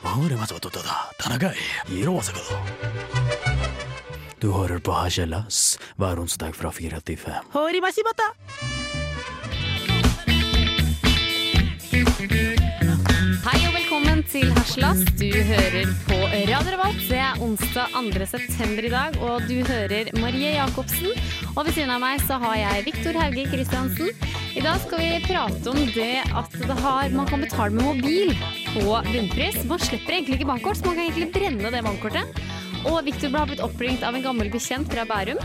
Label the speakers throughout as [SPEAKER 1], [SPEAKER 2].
[SPEAKER 1] Hvor er Matsumoto-da? Tanagai? Hiromasaka-da? Du hører på Hasjelas hver onsdag fra fire til fem.
[SPEAKER 2] Hei og velkommen til Herslas. Du hører på Radio Revolt. Det er onsdag 2. september i dag, og du hører Marie Jacobsen. Og ved siden av meg så har jeg Viktor Hauge Kristiansen. I dag skal vi prate om det at det har, man kan betale med mobil på bunnpris. Man slipper egentlig ikke bankkort, så man kan egentlig brenne det bankkortet. Og Viktor har blitt oppringt av en gammel bekjent fra Bærum.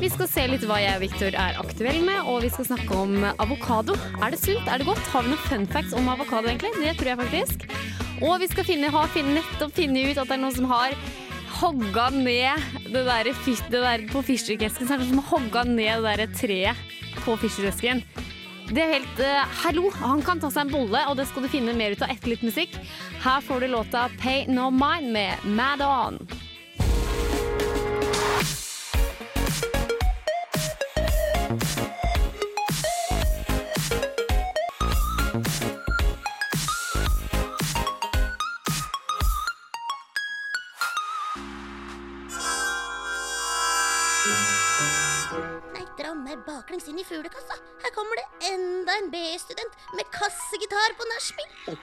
[SPEAKER 2] Vi skal se litt hva jeg og Victor er aktuelle med, og vi skal snakke om avokado. Er det sunt? Er det godt? Har vi noen fun facts om avokado, egentlig? Det tror jeg faktisk. Og vi skal finne, ha, finne, nettopp finne ut at det er noen som har hogga ned det der, fyr- det der på fyrstikksesken. Så er det noen som har hogga ned det der treet på fyrstikksesken. Det er helt eh, Hallo, han kan ta seg en bolle, og det skal du finne mer ut av etter litt musikk. Her får du låta 'Pay No Mind' med Mad On.
[SPEAKER 3] Nei, dra meg baklengs inn i fuglekassa. Her kommer det enda en BI-student med kassegitar på nachspiel.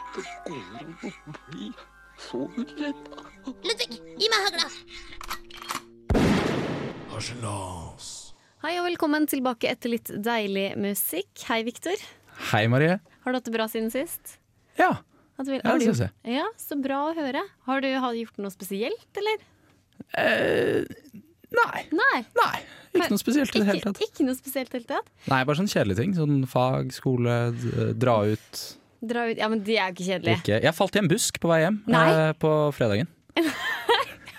[SPEAKER 3] Ludvig, gi meg hagla.
[SPEAKER 2] Hei og velkommen tilbake etter litt deilig musikk. Hei, Viktor.
[SPEAKER 4] Hei, Marie.
[SPEAKER 2] Har du hatt det bra siden sist?
[SPEAKER 4] Ja.
[SPEAKER 2] Hatt vel-
[SPEAKER 4] Ja,
[SPEAKER 2] har
[SPEAKER 4] det
[SPEAKER 2] du-
[SPEAKER 4] synes jeg.
[SPEAKER 2] Ja, Så bra å høre. Har du har du gjort noe spesielt, eller?
[SPEAKER 4] Nei.
[SPEAKER 2] Nei.
[SPEAKER 4] Nei. Ikke noe spesielt i det hele
[SPEAKER 2] Ikke,
[SPEAKER 4] tatt.
[SPEAKER 2] ikke noe spesielt i det hele tatt?
[SPEAKER 4] Nei, bare sånne kjedelige ting. Sånn fag, skole, d- dra ut.
[SPEAKER 2] Dra ut Ja, men det er jo ikke kjedelig.
[SPEAKER 4] Ikke. Jeg falt i en busk på vei hjem
[SPEAKER 2] Nei.
[SPEAKER 4] eh, på fredagen.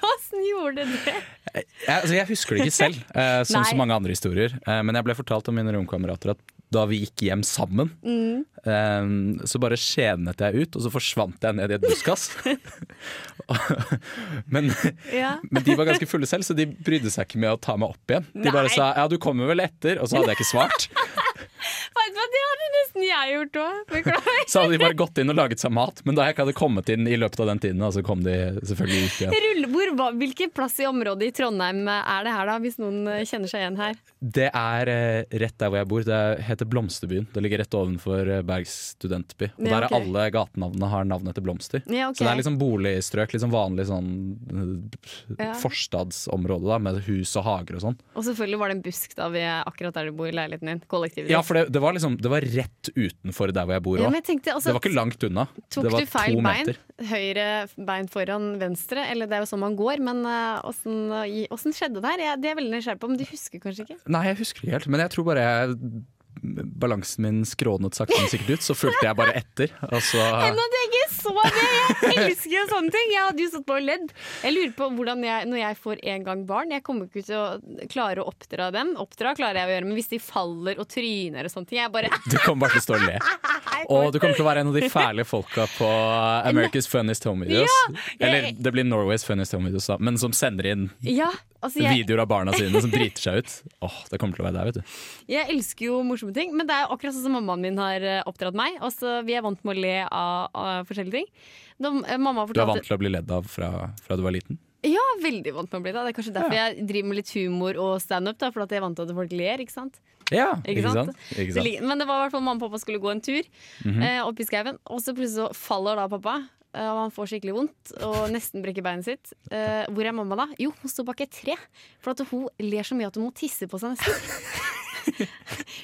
[SPEAKER 2] Åssen gjorde du det?
[SPEAKER 4] Jeg, altså, jeg husker det ikke selv, eh, som så
[SPEAKER 2] Nei.
[SPEAKER 4] mange andre historier. Eh, men jeg ble fortalt av mine romkamerater at da vi gikk hjem sammen,
[SPEAKER 2] Mm.
[SPEAKER 4] eh, så bare skjevnet jeg ut, og så forsvant jeg ned i et buskass. men
[SPEAKER 2] Ja.
[SPEAKER 4] Men de var ganske fulle selv, så de brydde seg ikke med å ta meg opp igjen. De bare
[SPEAKER 2] Nei.
[SPEAKER 4] sa 'ja, du kommer vel etter', og så hadde jeg ikke svart.
[SPEAKER 2] Vet du hva, det hadde nesten jeg gjort òg. Beklager.
[SPEAKER 4] Så hadde de bare gått inn og laget seg mat, men da jeg ikke hadde kommet inn i løpet av den tiden, da, så kom de selvfølgelig ut igjen.
[SPEAKER 2] Rulle, hvor, var- hvilken plass i området i Trondheim er det her, da? Hvis noen eh, kjenner seg igjen her.
[SPEAKER 4] Det er eh, rett der hvor jeg bor. Det er- heter Blomsterbyen. Det ligger rett ovenfor eh, Bergs studentby. Og
[SPEAKER 2] Ja,
[SPEAKER 4] der
[SPEAKER 2] ok.
[SPEAKER 4] er alle gatenavnene har navn etter blomster.
[SPEAKER 2] Ja, ok.
[SPEAKER 4] Så det er liksom boligstrøk, liksom vanlig sånn eh,
[SPEAKER 2] Ja.
[SPEAKER 4] forstadsområde da, med hus og hager og sånn.
[SPEAKER 2] Og selvfølgelig var det en busk da vi akkurat der du bor i leiligheten din. Kollektivet.
[SPEAKER 4] Ja, for det, det var liksom Det var rett utenfor der hvor jeg bor
[SPEAKER 2] Ja,
[SPEAKER 4] òg.
[SPEAKER 2] men jeg tenkte, altså,
[SPEAKER 4] det var ikke langt unna.
[SPEAKER 2] Tok
[SPEAKER 4] det var
[SPEAKER 2] du feil
[SPEAKER 4] to
[SPEAKER 2] bein?
[SPEAKER 4] meter.
[SPEAKER 2] Høyre bein foran venstre? Eller det er jo sånn man går, men åssen skjedde det her? Jeg, det er jeg veldig nysgjerrig på, men du husker kanskje ikke?
[SPEAKER 4] Nei, jeg husker ikke helt, men jeg tror bare jeg Balansen min skrånet sakte, men sikkert ut, så fulgte jeg bare etter. Og så,
[SPEAKER 2] Enda at jeg ikke så det! Jeg elsker jo sånne ting! Jeg hadde jo stått på og ledd. Jeg lurer på hvordan jeg, når jeg får en gang barn Jeg kommer ikke til å klare å oppdra dem. Oppdra klarer jeg å gjøre, men hvis de faller og tryner og sånne ting, jeg bare
[SPEAKER 4] du kommer bare til å stå og le. Og du kommer til å være en av de fæle folka på America's Funniest Home Videos.
[SPEAKER 2] Ja, jeg-
[SPEAKER 4] Eller det blir Norway's Funniest Home Videos, da, men som sender inn
[SPEAKER 2] Ja, altså jeg,
[SPEAKER 4] videoer av barna sine som driter seg ut. Åh, Det kommer til å være der, vet du.
[SPEAKER 2] Jeg elsker jo morsomme ting, men det er jo akkurat sånn som mammaen min har eh, oppdratt meg. Altså, vi er vant med å le av, av forskjellige ting. Da, eh, mamma
[SPEAKER 4] Du er
[SPEAKER 2] fortalte-
[SPEAKER 4] vant til å bli ledd av fra, fra du var liten.
[SPEAKER 2] Ja, veldig vant med å bli det. Det er kanskje derfor jeg driver med litt humor og standup, da, for at jeg er vant til at folk ler, ikke sant?
[SPEAKER 4] Ja,
[SPEAKER 2] Ikke sant?
[SPEAKER 4] Ikke
[SPEAKER 2] Det
[SPEAKER 4] sant? Mhm.
[SPEAKER 2] ligger- Men det var i hvert fall mamma og pappa skulle gå en tur eh, opp i skauen, og så plutselig så faller da pappa. eh, Og han får skikkelig vondt og nesten brekker beinet sitt. Eh, hvor er mamma da? Jo, hun står bak et tre. For at hun ler så mye at hun må tisse på seg nesten.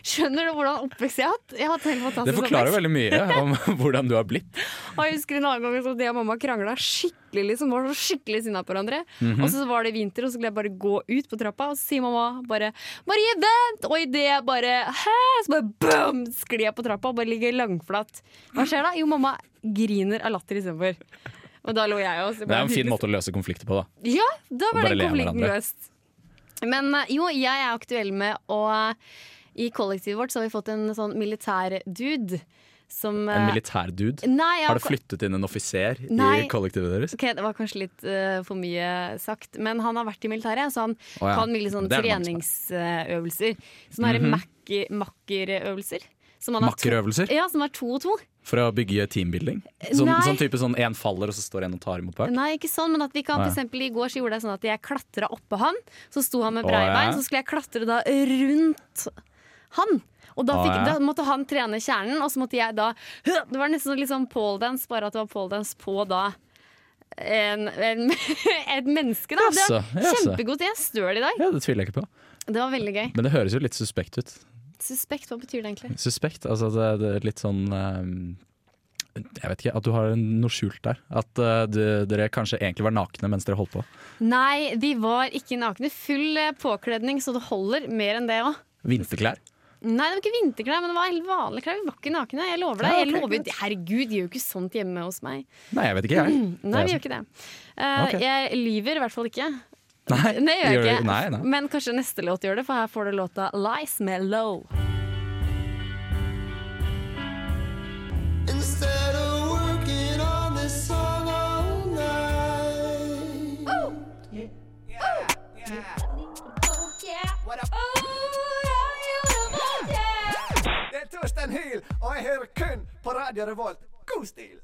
[SPEAKER 2] Skjønner du hvordan oppvekst jeg har hatt? Jeg har hatt en helt
[SPEAKER 4] Det
[SPEAKER 2] fantastisk
[SPEAKER 4] forklarer
[SPEAKER 2] oppvekst.
[SPEAKER 4] veldig mye om hvordan du har blitt.
[SPEAKER 2] Og jeg husker en annen gang så jeg og mamma krangla skikkelig. liksom, var så skikkelig sinna på hverandre.
[SPEAKER 4] Mhm.
[SPEAKER 2] Og så var det vinter, og så skulle jeg bare gå ut på trappa, og så sier mamma bare 'Marie, vent!' Og idet jeg bare Hæ? Så bare boom! Sklir jeg på trappa og bare ligger langflat. Hva skjer da? Jo, mamma griner av latter istedenfor. Og da lå jeg også.
[SPEAKER 4] Det er en fin måte å løse konflikter på, da.
[SPEAKER 2] Ja, da var
[SPEAKER 4] bare
[SPEAKER 2] den
[SPEAKER 4] le av
[SPEAKER 2] konflikten
[SPEAKER 4] hverandre.
[SPEAKER 2] løst. Men eh, jo, jeg er aktuell med å I kollektivet vårt så har vi fått en sånn militærdude som
[SPEAKER 4] En
[SPEAKER 2] eh,
[SPEAKER 4] militær dude.
[SPEAKER 2] Nei, jeg
[SPEAKER 4] Har det flyttet inn en offiser
[SPEAKER 2] Nei.
[SPEAKER 4] i kollektivet deres?
[SPEAKER 2] Ok, Det var kanskje litt eh, for mye sagt, men han har vært i militæret, så han
[SPEAKER 4] Å ja.
[SPEAKER 2] kan mye sånne Sånn
[SPEAKER 4] Det er en mann
[SPEAKER 2] treningsøvelser. Sånne mm makkerøvelser. Som han har to-
[SPEAKER 4] Makkerøvelser?
[SPEAKER 2] Ja, som er to og to.
[SPEAKER 5] For å bygge teambuilding? Sånn,
[SPEAKER 2] Nei.
[SPEAKER 5] sånn type sånn en faller, og så står en og tar imot bak?
[SPEAKER 2] Nei, ikke sånn, men at vi kan for
[SPEAKER 5] Nei.
[SPEAKER 2] eksempel I går så gjorde jeg sånn at jeg klatra oppå han. Så sto han med
[SPEAKER 5] Å,
[SPEAKER 2] breibein,
[SPEAKER 5] ja.
[SPEAKER 2] så skulle jeg klatre da rundt han. Og da,
[SPEAKER 5] Å,
[SPEAKER 2] fikk,
[SPEAKER 5] ja.
[SPEAKER 2] da måtte han trene kjernen, og så måtte jeg da Det var nesten litt sånn poledance, bare at det var poledance på da en, en, et menneske, da. Det
[SPEAKER 5] Jaså,
[SPEAKER 2] var
[SPEAKER 5] jaså.
[SPEAKER 2] kjempegodt. Jeg er støl i dag.
[SPEAKER 5] Ja, Det tviler jeg ikke på.
[SPEAKER 2] Det var veldig gøy.
[SPEAKER 5] Men det høres jo litt suspekt ut.
[SPEAKER 2] Suspekt, hva betyr det egentlig?
[SPEAKER 5] Suspekt, altså det, det er litt sånn eh, Jeg vet ikke, at du har en- noe skjult der. At eh, du, dere kanskje egentlig var nakne mens dere holdt på.
[SPEAKER 2] Nei, de var ikke nakne. Full eh, påkledning, så det holder mer enn det òg.
[SPEAKER 5] Vinterklær.
[SPEAKER 2] Nei, det var ikke vinterklær, men det var helt vanlige klær. Vi var ikke nakne. Jeg lover deg.
[SPEAKER 5] Ja,
[SPEAKER 2] jeg
[SPEAKER 5] ok,
[SPEAKER 2] lover, herregud, de gjør jo ikke sånt hjemme hos meg.
[SPEAKER 5] Nei, jeg vet ikke, jeg.
[SPEAKER 2] Mm, Nei, vi
[SPEAKER 5] Det
[SPEAKER 2] gjør
[SPEAKER 5] er sånn.
[SPEAKER 2] ikke det. Eh,
[SPEAKER 5] Ok.
[SPEAKER 2] Jeg lyver i hvert fall ikke.
[SPEAKER 5] sånn. Nei,
[SPEAKER 2] Nei, jeg gjør
[SPEAKER 5] gjør-
[SPEAKER 2] ikke.
[SPEAKER 5] Nei, nei.
[SPEAKER 2] Men kanskje neste låt gjør det, for her får du låta 'Lies' med Low.
[SPEAKER 6] Instead of working on this song all night.
[SPEAKER 7] Det er Torstein Hyl, og jeg hører kun på Radio Revolt. God stil!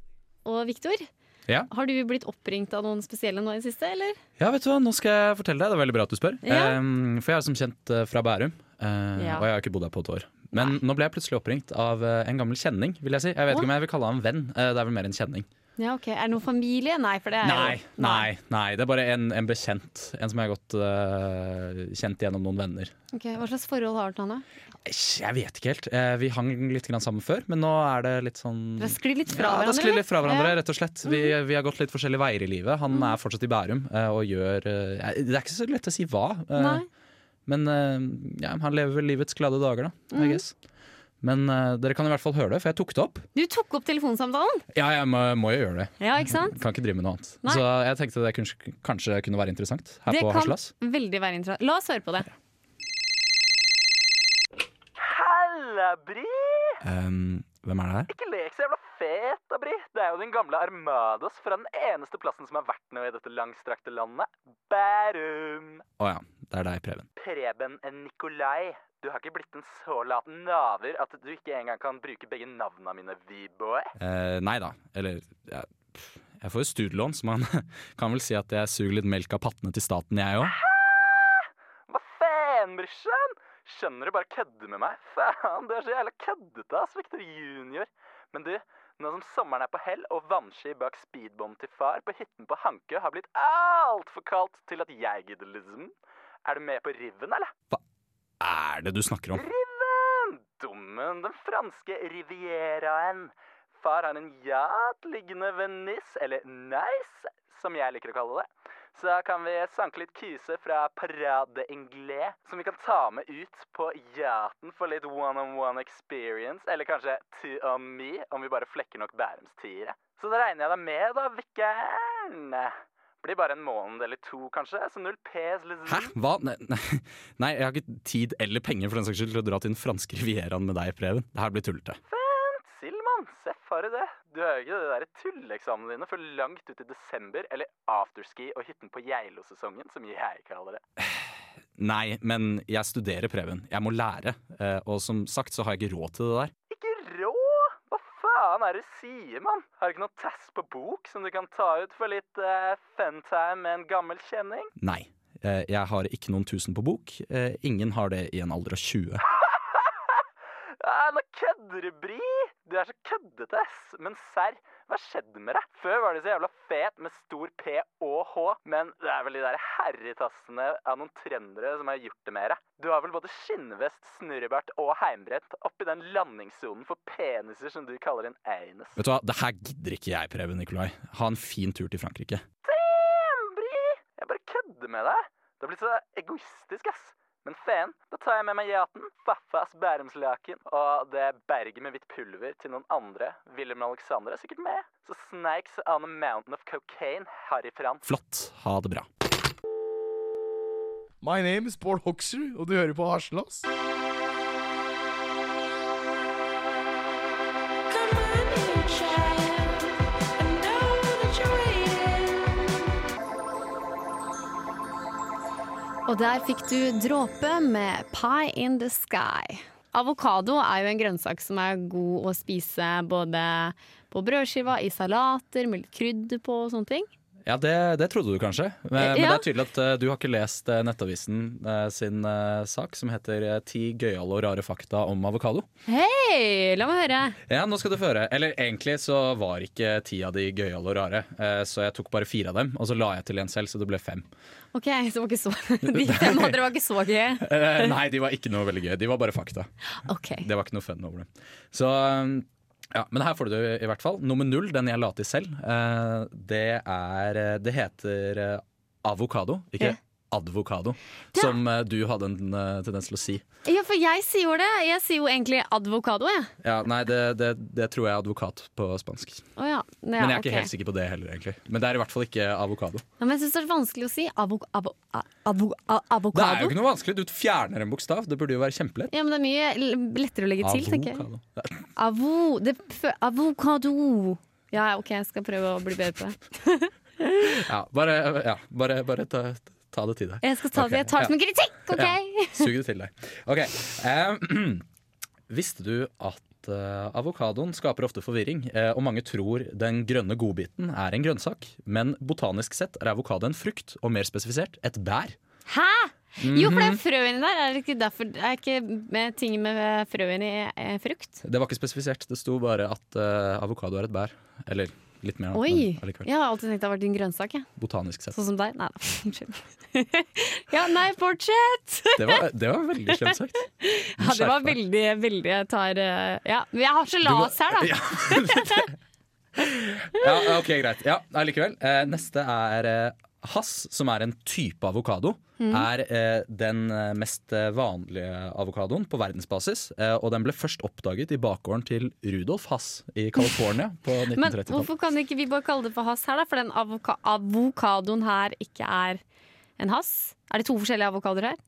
[SPEAKER 2] Og Victor,
[SPEAKER 5] Ja.
[SPEAKER 2] har du blitt oppringt av noen spesielle nå i det siste, eller?
[SPEAKER 5] Ja, vet du hva, nå skal jeg fortelle deg. Det er veldig bra at du spør.
[SPEAKER 2] Ja.
[SPEAKER 5] Ehm, for jeg er som kjent eh, fra Bærum, eh,
[SPEAKER 2] Ja.
[SPEAKER 5] og jeg har ikke bodd her på et år. Men nå ble jeg plutselig oppringt av eh, en gammel kjenning, vil jeg si. Jeg vet ikke om jeg vil kalle han en venn. Eh, det er vel mer en kjenning.
[SPEAKER 2] Ja, ok. Er det noen familie? Nei, for det er
[SPEAKER 5] Nei,
[SPEAKER 2] jo
[SPEAKER 5] nei, nei. Det er bare en, en bekjent. En som jeg har gått eh, kjent gjennom noen venner.
[SPEAKER 2] Ok, Hva slags forhold har du til han, da?
[SPEAKER 5] Eish, Jeg vet ikke helt. Eh, vi hang litt grann sammen før, men nå er det litt sånn
[SPEAKER 2] Dere sklir litt fra
[SPEAKER 5] ja,
[SPEAKER 2] hverandre?
[SPEAKER 5] det sklir litt fra
[SPEAKER 2] eller? Mm.
[SPEAKER 5] hverandre, rett og slett. Vi, vi har gått litt forskjellige veier i livet. Han er fortsatt i Bærum eh, og gjør eh, Det er ikke så lett å si hva. eh,
[SPEAKER 2] Ja. Nei.
[SPEAKER 5] Men eh, ja, han lever vel livets glade dager, da.
[SPEAKER 2] Mm.
[SPEAKER 5] I guess. Men eh, dere kan i hvert fall høre det, for jeg tok det opp.
[SPEAKER 2] Du tok opp telefonsamtalen?
[SPEAKER 5] Ja, jeg må, må jo gjøre det.
[SPEAKER 2] Ja, ikke sant?
[SPEAKER 5] Kan ikke drive med noe annet.
[SPEAKER 2] Nei.
[SPEAKER 5] Så jeg tenkte det kanskje, kanskje kunne være interessant her
[SPEAKER 2] det
[SPEAKER 5] på
[SPEAKER 2] kan
[SPEAKER 5] Haslas.
[SPEAKER 2] veldig være interessant. La oss høre på det.
[SPEAKER 8] Halla, Bri!
[SPEAKER 5] Um, hvem er det her?
[SPEAKER 8] Ikke lek så jævla fet, da, Bri. Det er jo din gamle Armadas fra den eneste plassen som er verdt noe i dette langstrakte landet. Bærum!
[SPEAKER 5] Å ja, det er deg, Preben.
[SPEAKER 8] Preben Nikolai. Du har ikke blitt en så lat naver at du ikke engang kan bruke begge navnene mine, V-boy.
[SPEAKER 5] Eh, nei da, eller ja, pff, Jeg får jo studielån, så man kan vel si at jeg suger litt melk av pattene til staten, jeg òg.
[SPEAKER 8] Hva faen, brorsan? Skjønner du bare kødder med meg? Faen, du er så jævla køddete, ass, Victor Junior. Men du, nå som sommeren er på hell og vannski bak speedbånd til far på hytten på Hankø har blitt altfor kaldt til at jeg gidder, liksom. Er du med på Riven, eller?
[SPEAKER 5] Er det du snakker om?
[SPEAKER 8] Riven! Dummen, den franske rivieraen. Far har en yacht liggende ved Nis, eller Nice, som jeg liker å kalle det. Så kan vi sanke litt kuse fra Parade Anglais, som vi kan ta med ut på yachten for litt one-on-one experience, eller kanskje two on me, om vi bare flekker nok Bærumstiere. Så da regner jeg deg med, da, Vikkern. Blir bare en måned eller to, kanskje, så null pes, liksom.
[SPEAKER 5] Hæ? Hva? Nei, nei, nei, jeg har ikke tid eller penger for den saks skyld til å dra til den franske rivieraen med deg, Preben. Det her blir tullete.
[SPEAKER 8] Vent, Silman, se for deg det. Du har jo ikke de der tulleeksamene dine før langt ut i desember, eller afterski og hytten på Geilo-sesongen, som jeg kaller det.
[SPEAKER 5] Nei, men jeg studerer, Preben. Jeg må lære. Eh, og som sagt så har jeg ikke råd til det der.
[SPEAKER 8] Ikke rå! Hva faen er det du sier, mann? Har du ikke noen tass på bok som du kan ta ut for litt eh, fun time med en gammel kjenning?
[SPEAKER 5] Nei. Eh, jeg har ikke noen tusen på bok. Eh, ingen har det i en alder av 20.
[SPEAKER 8] Ja, nå kødder du, Bri! Du er så køddete, ass. Men serr, hva skjedde med deg? Før var du så jævla fet med stor P og H, men det er vel de der herretassene av noen trøndere som har gjort det med deg. Du har vel både skinnvest, snurrebart og heimbrent oppi den landingssonen for peniser som du kaller en anus.
[SPEAKER 5] Vet du hva, det her gidder ikke jeg, Preben Nikolai. Ha en fin tur til Frankrike.
[SPEAKER 8] Damn, Bri! Jeg bare kødder med deg. Det har blitt så egoistisk, ass. Men faen, da tar jeg med meg yachten, Faffas Bærumslaken og det berget med hvitt pulver til noen andre. William og Alexander er sikkert med. Så snakes on a mountain of cocaine herifra.
[SPEAKER 5] Flott. Ha det bra.
[SPEAKER 9] My name is Bård Hoksrud, og du hører på Harselas.
[SPEAKER 2] Og der fikk du Dråpe med Pie in the Sky. Avokado er jo en grønnsak som er god å spise både på brødskiva, i salater, med litt krydder på og sånne ting.
[SPEAKER 5] Ja, det, det trodde du kanskje. Men, men det
[SPEAKER 2] Ja.
[SPEAKER 5] er tydelig at eh, du har ikke lest eh, Nettavisen eh, sin eh, sak som heter eh, 'Ti gøyale og rare fakta om avokado'.
[SPEAKER 2] Hei, la meg høre!
[SPEAKER 5] Ja, nå skal du få høre. Eller egentlig så var ikke ti av de gøyale og rare, eh, så jeg tok bare fire av dem. Og så la jeg til en selv, så det ble fem.
[SPEAKER 2] Ok, så var ikke så De fem andre var ikke så gøye.
[SPEAKER 5] Eh, Nei, de var ikke noe veldig gøy. De var bare fakta.
[SPEAKER 2] Ok.
[SPEAKER 5] Det var ikke noe fun over dem. Så um, ja, Men her får du det i hvert fall. Nummer null, den jeg la til selv, eh, det er eh, Det heter eh, avokado, ikke
[SPEAKER 2] Ja.
[SPEAKER 5] advokado,
[SPEAKER 2] Ja.
[SPEAKER 5] som eh, du hadde en eh, tendens til å si.
[SPEAKER 2] Ja, for jeg sier jo det. Jeg sier jo egentlig advokado, jeg.
[SPEAKER 5] Ja, Nei, det, det, det tror jeg er advokat på spansk.
[SPEAKER 2] Å ja. Ja,
[SPEAKER 5] Men jeg er ikke
[SPEAKER 2] ok.
[SPEAKER 5] helt sikker på det heller, egentlig. Men det er i hvert fall ikke avokado.
[SPEAKER 2] Ja, men jeg syns det er vanskelig å si avo, avo, a- avo, a- avokado.
[SPEAKER 5] Det er jo ikke noe vanskelig. Du fjerner en bokstav. Det burde jo være kjempelett.
[SPEAKER 2] Ja, men det er mye l- lettere å legge til, tenker jeg.
[SPEAKER 5] Avokado. Ja,
[SPEAKER 2] Avo, det, fø- avokado. Ja, OK, jeg skal prøve å bli bedre på det.
[SPEAKER 5] Ja, bare ja, bare, bare ta, ta det til deg.
[SPEAKER 2] Jeg skal ta det,
[SPEAKER 5] Ok,
[SPEAKER 2] jeg tar det som en kritikk, OK?
[SPEAKER 5] Ja, Sug det til deg. Ok, eh, Visste du at eh, avokadoen skaper ofte forvirring, eh, og mange tror den grønne godbiten er en grønnsak, men botanisk sett er avokado en frukt, og mer spesifisert et bær.
[SPEAKER 2] Hæ? Jo, for det
[SPEAKER 5] Mhm.
[SPEAKER 2] er frø inni der. Er det ikke derfor Er ikke med ting med frø inni eh, frukt?
[SPEAKER 5] Det var ikke spesifisert, det sto bare at eh, avokado er et bær. Eller litt mer, da,
[SPEAKER 2] Oi!
[SPEAKER 5] men allikevel.
[SPEAKER 2] Jeg har alltid tenkt det har vært en grønnsak, jeg.
[SPEAKER 5] Botanisk sett.
[SPEAKER 2] Sånn som deg. Nei da, unnskyld. Ja, nei, fortsett!
[SPEAKER 5] Det var, det var veldig slemt sagt.
[SPEAKER 2] Ja, det var
[SPEAKER 5] Skjerp deg.
[SPEAKER 2] veldig, veldig Jeg tar eh, Ja, men jeg har sjalas her, da.
[SPEAKER 5] Ja, ok, greit. Ja, allikevel. Eh, neste er eh, hass, som er en type avokado.
[SPEAKER 2] Mm.
[SPEAKER 5] Er eh, den eh, mest eh, vanlige avokadoen på verdensbasis. Eh, og den ble først oppdaget i bakgården til Rudolf Hass i California på
[SPEAKER 2] Men
[SPEAKER 5] 1930-tallet.
[SPEAKER 2] hvorfor kan ikke vi bare kalle det for hass her, da? For den avoka avokadoen her ikke er en hass? Er det to forskjellige avokadoer her?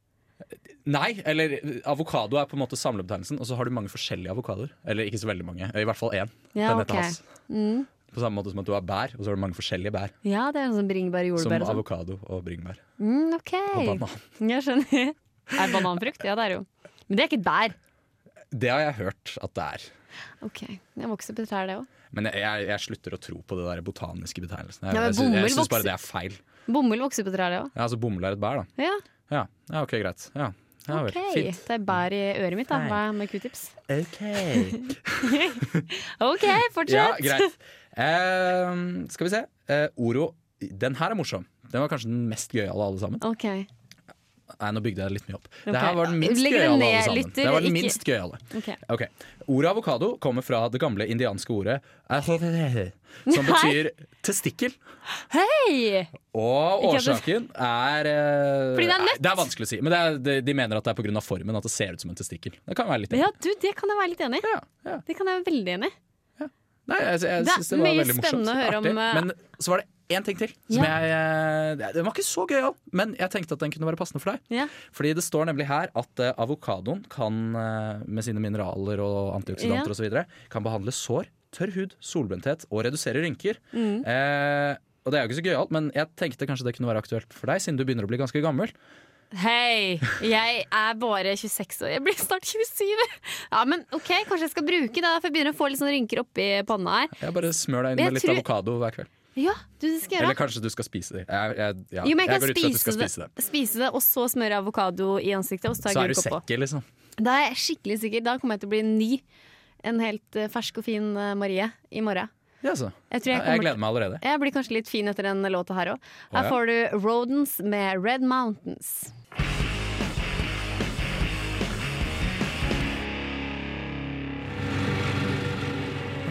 [SPEAKER 5] Nei, eller eh, avokado er på en måte samlebetegnelsen, og så har du mange forskjellige avokadoer. Eller ikke så veldig mange, eh, i hvert fall én.
[SPEAKER 2] Ja,
[SPEAKER 5] den
[SPEAKER 2] ok. Mm.
[SPEAKER 5] heter Hass. På samme måte som at du har bær, og så har du mange forskjellige bær.
[SPEAKER 2] Ja, det er sånn bringebær og
[SPEAKER 5] Som
[SPEAKER 2] jordbær og sånn.
[SPEAKER 5] avokado og bringebær.
[SPEAKER 2] Mm, ok.
[SPEAKER 5] Og banan.
[SPEAKER 2] Jeg skjønner. Er bananfrukt? Ja, det er det jo. Men det er ikke et bær.
[SPEAKER 5] Det har jeg hørt at det er.
[SPEAKER 2] Ok, Jeg vokser på trær, det òg.
[SPEAKER 5] Men jeg, jeg, jeg slutter å tro på det der botaniske betegnelsen. Jeg,
[SPEAKER 2] Ja, men
[SPEAKER 5] jeg, synes- jeg
[SPEAKER 2] bomull
[SPEAKER 5] syns
[SPEAKER 2] vokser-
[SPEAKER 5] bare det er feil.
[SPEAKER 2] Bomull vokser på trær, det òg.
[SPEAKER 5] Ja, altså Bomull er et bær, da.
[SPEAKER 2] Ja,
[SPEAKER 5] Ja, ja ok, greit. Ja. Ja, vel.
[SPEAKER 2] ok.
[SPEAKER 5] Fint.
[SPEAKER 2] Det er bær i øret mitt, da,
[SPEAKER 5] Nei.
[SPEAKER 2] hva- med q-tips.
[SPEAKER 5] Ok.
[SPEAKER 2] OK,
[SPEAKER 5] Ja,
[SPEAKER 2] fortsett!
[SPEAKER 5] greit. Eh, skal vi se. Eh, Oro. Den her er morsom. Den var kanskje den mest gøyale av alle sammen.
[SPEAKER 2] Ok,
[SPEAKER 5] Nei, nå bygde jeg litt mye opp. Dette
[SPEAKER 2] Ok.
[SPEAKER 5] her var den minst
[SPEAKER 2] Legger det
[SPEAKER 5] gøyale av alle
[SPEAKER 2] ned,
[SPEAKER 5] sammen.
[SPEAKER 2] lytter,
[SPEAKER 5] Det var den
[SPEAKER 2] ikke-
[SPEAKER 5] minst gøyale.
[SPEAKER 2] ok.
[SPEAKER 5] Ok, Ordet avokado kommer fra det gamle indianske ordet som betyr testikkel.
[SPEAKER 2] Hei!
[SPEAKER 5] Og
[SPEAKER 2] Ikke at
[SPEAKER 5] årsaken er eh,
[SPEAKER 2] Fordi det er
[SPEAKER 5] nei,
[SPEAKER 2] nøtt?
[SPEAKER 5] Det er vanskelig å si. Men det er, de, de mener at det er pga. formen at det ser ut som en testikkel. Det kan være litt
[SPEAKER 2] Ja, du, det kan jeg være litt enig i.
[SPEAKER 5] Ja, ja.
[SPEAKER 2] Det kan jeg være veldig enig i.
[SPEAKER 5] Nei, jeg, jeg
[SPEAKER 2] Det er
[SPEAKER 5] synes det var
[SPEAKER 2] mye
[SPEAKER 5] veldig morsomt.
[SPEAKER 2] spennende å høre om,
[SPEAKER 5] artig.
[SPEAKER 2] eh,
[SPEAKER 5] Men så var det én ting til.
[SPEAKER 2] Ja.
[SPEAKER 5] Som jeg, eh, den var ikke så gøyal, men jeg tenkte at den kunne være passende for deg.
[SPEAKER 2] Ja.
[SPEAKER 5] Fordi det står nemlig her at eh, avokadoen kan, eh, med sine mineraler og
[SPEAKER 2] Ja.
[SPEAKER 5] antioksidanter og så videre kan behandle sår, tørr hud, solbrenthet og redusere rynker.
[SPEAKER 2] Mm.
[SPEAKER 5] Eh, og det er jo ikke så gøyalt, men jeg tenkte kanskje det kunne være aktuelt for deg, siden du begynner å bli ganske gammel.
[SPEAKER 2] Hei, jeg er bare 26 år. Jeg blir snart 27. Ja, men ok, Kanskje jeg skal bruke det, for jeg begynner å få litt sånne rynker oppi panna her.
[SPEAKER 5] Jeg bare smør deg inn
[SPEAKER 2] Men jeg
[SPEAKER 5] med litt
[SPEAKER 2] tror-
[SPEAKER 5] avokado hver kveld.
[SPEAKER 2] Ja, du, det skal jeg
[SPEAKER 5] Eller
[SPEAKER 2] gjøre.
[SPEAKER 5] kanskje du skal spise det. Jeg, jeg, ja.
[SPEAKER 2] Jo, men jeg
[SPEAKER 5] jeg,
[SPEAKER 2] kan
[SPEAKER 5] går ut fra at du skal spise
[SPEAKER 2] spise
[SPEAKER 5] det.
[SPEAKER 2] det, spise det og så smøre avokado i ansiktet. Og så
[SPEAKER 5] Så
[SPEAKER 2] tar
[SPEAKER 5] er
[SPEAKER 2] jeg
[SPEAKER 5] du
[SPEAKER 2] gulrot på.
[SPEAKER 5] sekker, liksom.
[SPEAKER 2] Da er jeg skikkelig sikker. Da kommer jeg til å bli ny. En helt eh, fersk og fin eh, Marie i morgen.
[SPEAKER 5] Ja, så.
[SPEAKER 2] Jeg tror
[SPEAKER 5] Jeg,
[SPEAKER 2] jeg kommer
[SPEAKER 5] gleder meg allerede.
[SPEAKER 2] Jeg blir kanskje litt fin etter den låta her òg. Her
[SPEAKER 5] ja.
[SPEAKER 2] får du Rodents med Red Mountains.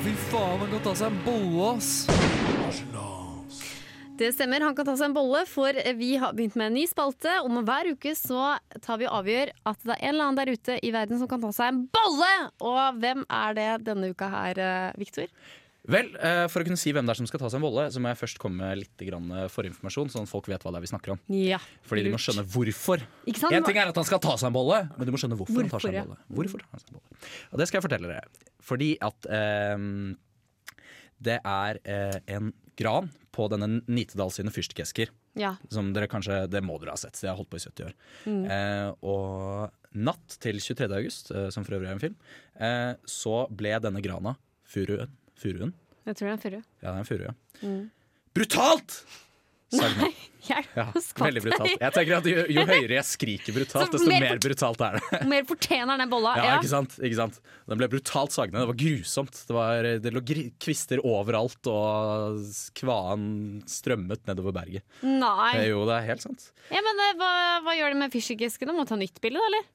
[SPEAKER 10] Fy faen, han kan ta seg en bolle, ass.
[SPEAKER 2] Det stemmer, han kan ta seg en bolle, for vi har begynt med en ny spalte. Om hver uke så tar vi og avgjør at det er en eller annen der ute i verden som kan ta seg en bolle! Og hvem er det denne uka her, eh, Victor?
[SPEAKER 5] Vel, eh, For å kunne si hvem det er som skal ta seg en bolle, så må jeg først komme med litt grann eh, forinformasjon, sånn at folk vet hva det er vi snakker om.
[SPEAKER 2] Ja.
[SPEAKER 5] Fordi de må skjønne hvorfor.
[SPEAKER 2] Ikke sant?
[SPEAKER 5] En ting er at han skal ta seg en bolle, men du må skjønne hvorfor, han tar
[SPEAKER 2] Hvorfor,
[SPEAKER 5] seg
[SPEAKER 2] ja.
[SPEAKER 5] en bolle. Hvorfor tar han seg en bolle? Og det skal jeg fortelle dere. Fordi at eh, det er eh, en gran på denne Nitedal sine fyrstikkesker.
[SPEAKER 2] Ja.
[SPEAKER 5] Som dere kanskje, det må dere ha sett, så jeg har holdt på i 70 år. Eh, og natt til 23. august, eh, som for øvrig er en film, eh, så ble denne grana furuen. furuen
[SPEAKER 2] Jeg tror det er en furu.
[SPEAKER 5] ja, det er en furu, ja. Brutalt! Sagde den.
[SPEAKER 2] Hjelp,
[SPEAKER 5] Ja,
[SPEAKER 2] skvatt
[SPEAKER 5] veldig brutalt.
[SPEAKER 2] meg.
[SPEAKER 5] Jeg tenker at jo, jo høyere jeg skriker brutalt,
[SPEAKER 2] Så
[SPEAKER 5] desto
[SPEAKER 2] mer
[SPEAKER 5] mer
[SPEAKER 2] fort-
[SPEAKER 5] brutalt er det.
[SPEAKER 2] Mer fortjener den bolla.
[SPEAKER 5] Ja,
[SPEAKER 2] Ja,
[SPEAKER 5] ikke sant? Ikke sant? Den ble brutalt sagne. Det var grusomt. Det, var, det lå gri- kvister overalt, og kvaen strømmet nedover berget. Eh,
[SPEAKER 2] Nei.
[SPEAKER 5] Jo, det er helt sant.
[SPEAKER 2] Ja, men eh, hva, hva gjør de med fyrstikkheskene? Må ta nytt bilde, da, eller?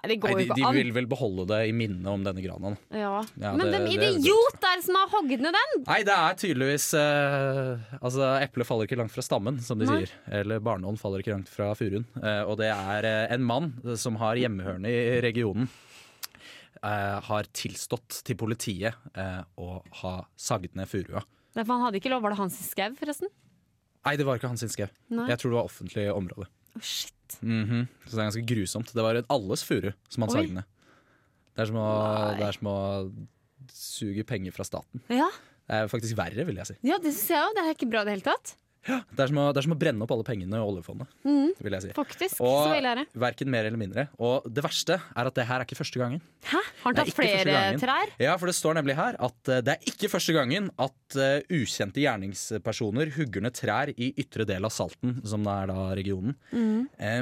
[SPEAKER 2] Nei, det går
[SPEAKER 5] Nei, de,
[SPEAKER 2] jo
[SPEAKER 5] de
[SPEAKER 2] ikke an.
[SPEAKER 5] vil vel beholde det i minnet om denne grana. da.
[SPEAKER 2] Ja.
[SPEAKER 5] Ja,
[SPEAKER 2] men
[SPEAKER 5] det-
[SPEAKER 2] den
[SPEAKER 5] det-
[SPEAKER 2] idiot der som har hogd ned den!
[SPEAKER 5] Nei, det er tydeligvis eh, Altså, eplet faller ikke langt fra stammen, som de
[SPEAKER 2] Nei.
[SPEAKER 5] sier. Eller barnånd faller ikke langt fra furuen. Eh, og det er eh, en mann eh, som har hjemmehørende i regionen. eh, har tilstått til politiet eh, å ha sagd ned furua.
[SPEAKER 2] Nei, for han hadde ikke lov. Var det hans skau, forresten?
[SPEAKER 5] Nei, det var ikke hans skau.
[SPEAKER 2] Nei.
[SPEAKER 5] Jeg tror det var offentlig område.
[SPEAKER 2] Å, shit.
[SPEAKER 5] Mhm. Så det er ganske grusomt. Det var en alles furu som han
[SPEAKER 2] Oi.
[SPEAKER 5] sagde ned. Det er, som å,
[SPEAKER 2] Nei.
[SPEAKER 5] det er som å suge penger fra staten.
[SPEAKER 2] Ja,
[SPEAKER 5] Det er faktisk verre, vil jeg si.
[SPEAKER 2] ja det syns jeg òg. Det er ikke bra i det hele tatt.
[SPEAKER 5] Det er som å, det er som å brenne opp alle pengene i oljefondet, vil jeg si.
[SPEAKER 2] Faktisk. så ille er det.
[SPEAKER 5] Og verken mer eller mindre. Og det verste er at det her er ikke første gangen.
[SPEAKER 2] Hæ? Har han
[SPEAKER 5] Nei,
[SPEAKER 2] tatt
[SPEAKER 5] ikke første
[SPEAKER 2] flere
[SPEAKER 5] gangen.
[SPEAKER 2] trær?
[SPEAKER 5] Ja, for det står nemlig her at eh, det er ikke første gangen at eh, ukjente gjerningspersoner hugger ned trær i ytre del av Salten, som det er da regionen. Eh,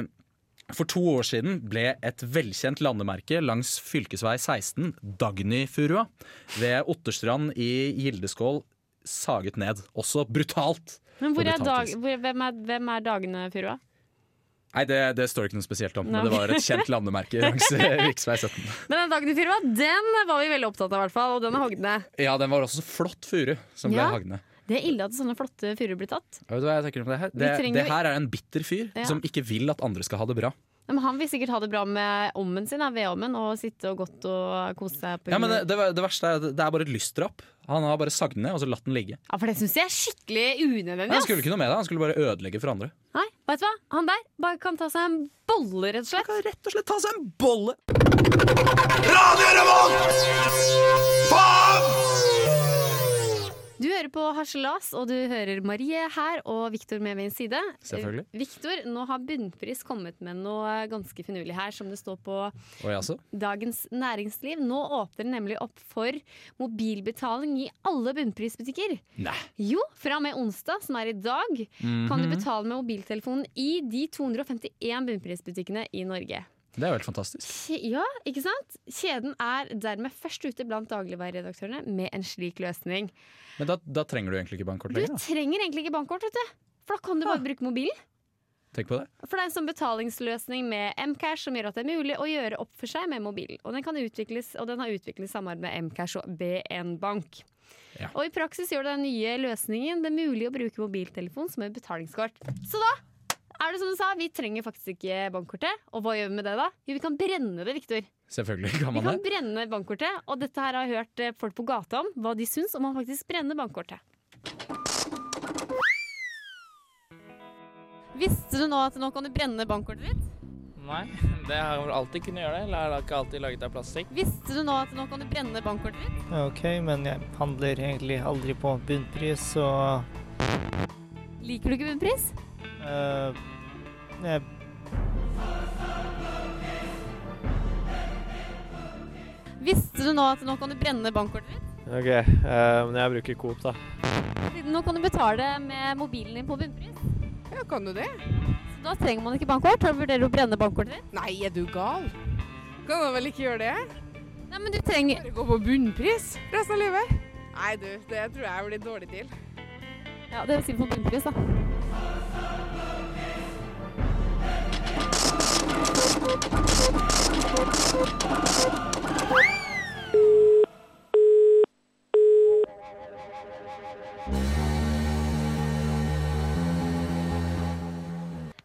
[SPEAKER 5] for to år siden ble et velkjent landemerke langs fylkesvei 16, Dagnyfurua, ved Otterstrand i Gildeskål, saget ned. Også brutalt.
[SPEAKER 2] Men hvor er
[SPEAKER 5] På
[SPEAKER 2] dag,
[SPEAKER 5] brutalt vis.
[SPEAKER 2] hvor, hvem, er, hvem er dagene, Furua?
[SPEAKER 5] Nei, det, det står ikke noe spesielt om,
[SPEAKER 2] Nei.
[SPEAKER 5] men det var et kjent landemerke langs eh, riksvei 17.
[SPEAKER 2] Men den dagen i Furua, den var vi veldig opptatt av, i hvert fall. Og den er hogd ned.
[SPEAKER 5] Ja, den var også så flott furu som ble
[SPEAKER 2] Ja.
[SPEAKER 5] hagd ned.
[SPEAKER 2] Det er ille at sånne flotte furuer blir tatt.
[SPEAKER 5] Ja, Vet du hva jeg tenker om det her?
[SPEAKER 2] Vi
[SPEAKER 5] Det,
[SPEAKER 2] trenger
[SPEAKER 5] det
[SPEAKER 2] jo-
[SPEAKER 5] her er en bitter fyr
[SPEAKER 2] Ja.
[SPEAKER 5] som ikke vil at andre skal ha det bra.
[SPEAKER 2] Ja, Men han vil sikkert ha det bra med ommen sin, da, vedovnen, og sitte og godt og kose seg. på
[SPEAKER 5] Ja, men det,
[SPEAKER 2] hulen.
[SPEAKER 5] det, det verste er at det er bare et lystdrap. Han har bare sagd den ned og så latt den ligge.
[SPEAKER 2] ja, For det syns jeg er skikkelig unødvendig.
[SPEAKER 5] Han
[SPEAKER 2] ass.
[SPEAKER 5] skulle ikke noe med det, han skulle bare ødelegge for andre.
[SPEAKER 2] Nei, vet du hva? Han der bare kan ta seg en bolle, rett og slett.
[SPEAKER 5] Kan rett og slett ta seg en bolle.
[SPEAKER 2] Du hører på Harselas, og du hører Marie her og Viktor med ved min side.
[SPEAKER 5] Selvfølgelig.
[SPEAKER 2] Viktor, nå har Bunnpris kommet med noe ganske finurlig her, som det står på
[SPEAKER 5] Oi, altså.
[SPEAKER 2] Dagens Næringsliv. Nå åpner det nemlig opp for mobilbetaling i alle bunnprisbutikker.
[SPEAKER 5] Nei.
[SPEAKER 2] Jo, fra og med onsdag, som er i dag, kan du betale med mobiltelefonen i de 251 bunnprisbutikkene i Norge.
[SPEAKER 5] Det er jo helt fantastisk.
[SPEAKER 2] Kje- Ja, ikke sant? Kjeden er dermed først ute blant dagligvareredaktørene med en slik løsning.
[SPEAKER 5] Men da, da trenger du egentlig ikke bankkort
[SPEAKER 2] Du
[SPEAKER 5] lenger. Da.
[SPEAKER 2] trenger egentlig ikke bankkort, vet du. For da kan du bare bruke mobilen.
[SPEAKER 5] Tenk på det.
[SPEAKER 2] For det er en sånn betalingsløsning med Mcash som gjør at det er mulig å gjøre opp for seg med mobilen. Og den, kan utvikles, og den har utviklet samarbeid med Mcash og BN Bank.
[SPEAKER 5] Ja.
[SPEAKER 2] Og i praksis gjør den nye løsningen det mulig å bruke mobiltelefon som et betalingskort. Så da er det som du sa, vi trenger faktisk ikke bankkortet. Og hva gjør vi med det da? Jo, vi kan brenne det, Viktor.
[SPEAKER 5] Selvfølgelig kan
[SPEAKER 2] Vi
[SPEAKER 5] man
[SPEAKER 2] kan
[SPEAKER 5] det.
[SPEAKER 2] brenne bankkortet, og dette her har jeg hørt eh, folk på gata om, hva de syns om man faktisk brenner bankkortet. Visste du nå at nå kan du brenne bankkortet ditt?
[SPEAKER 11] Nei, det har vel alltid kunnet gjøre det, eller er det ikke alltid laget av plastikk?
[SPEAKER 2] Visste du nå at nå kan du brenne bankkortet ditt?
[SPEAKER 11] Ok, men jeg handler egentlig aldri på bunnpris, så
[SPEAKER 2] Liker du ikke bunnpris?
[SPEAKER 11] øh, jeg
[SPEAKER 2] Visste du nå at nå kan du brenne bankkortet ditt?
[SPEAKER 11] Ok, eh, men jeg bruker Coop, da.
[SPEAKER 2] Siden nå kan du betale med mobilen din på bunnpris.
[SPEAKER 12] Ja, kan du det?
[SPEAKER 2] Så da trenger man ikke bankkort. Har du vurdert å brenne bankkortet ditt?
[SPEAKER 12] Nei, er du gal? Kan du vel ikke gjøre det?
[SPEAKER 2] Nei, men du trenger
[SPEAKER 12] Bare gå på bunnpris resten av livet? Nei, du, det tror jeg blir dårlig til.
[SPEAKER 2] Ja, det vil si på bunnpris, da.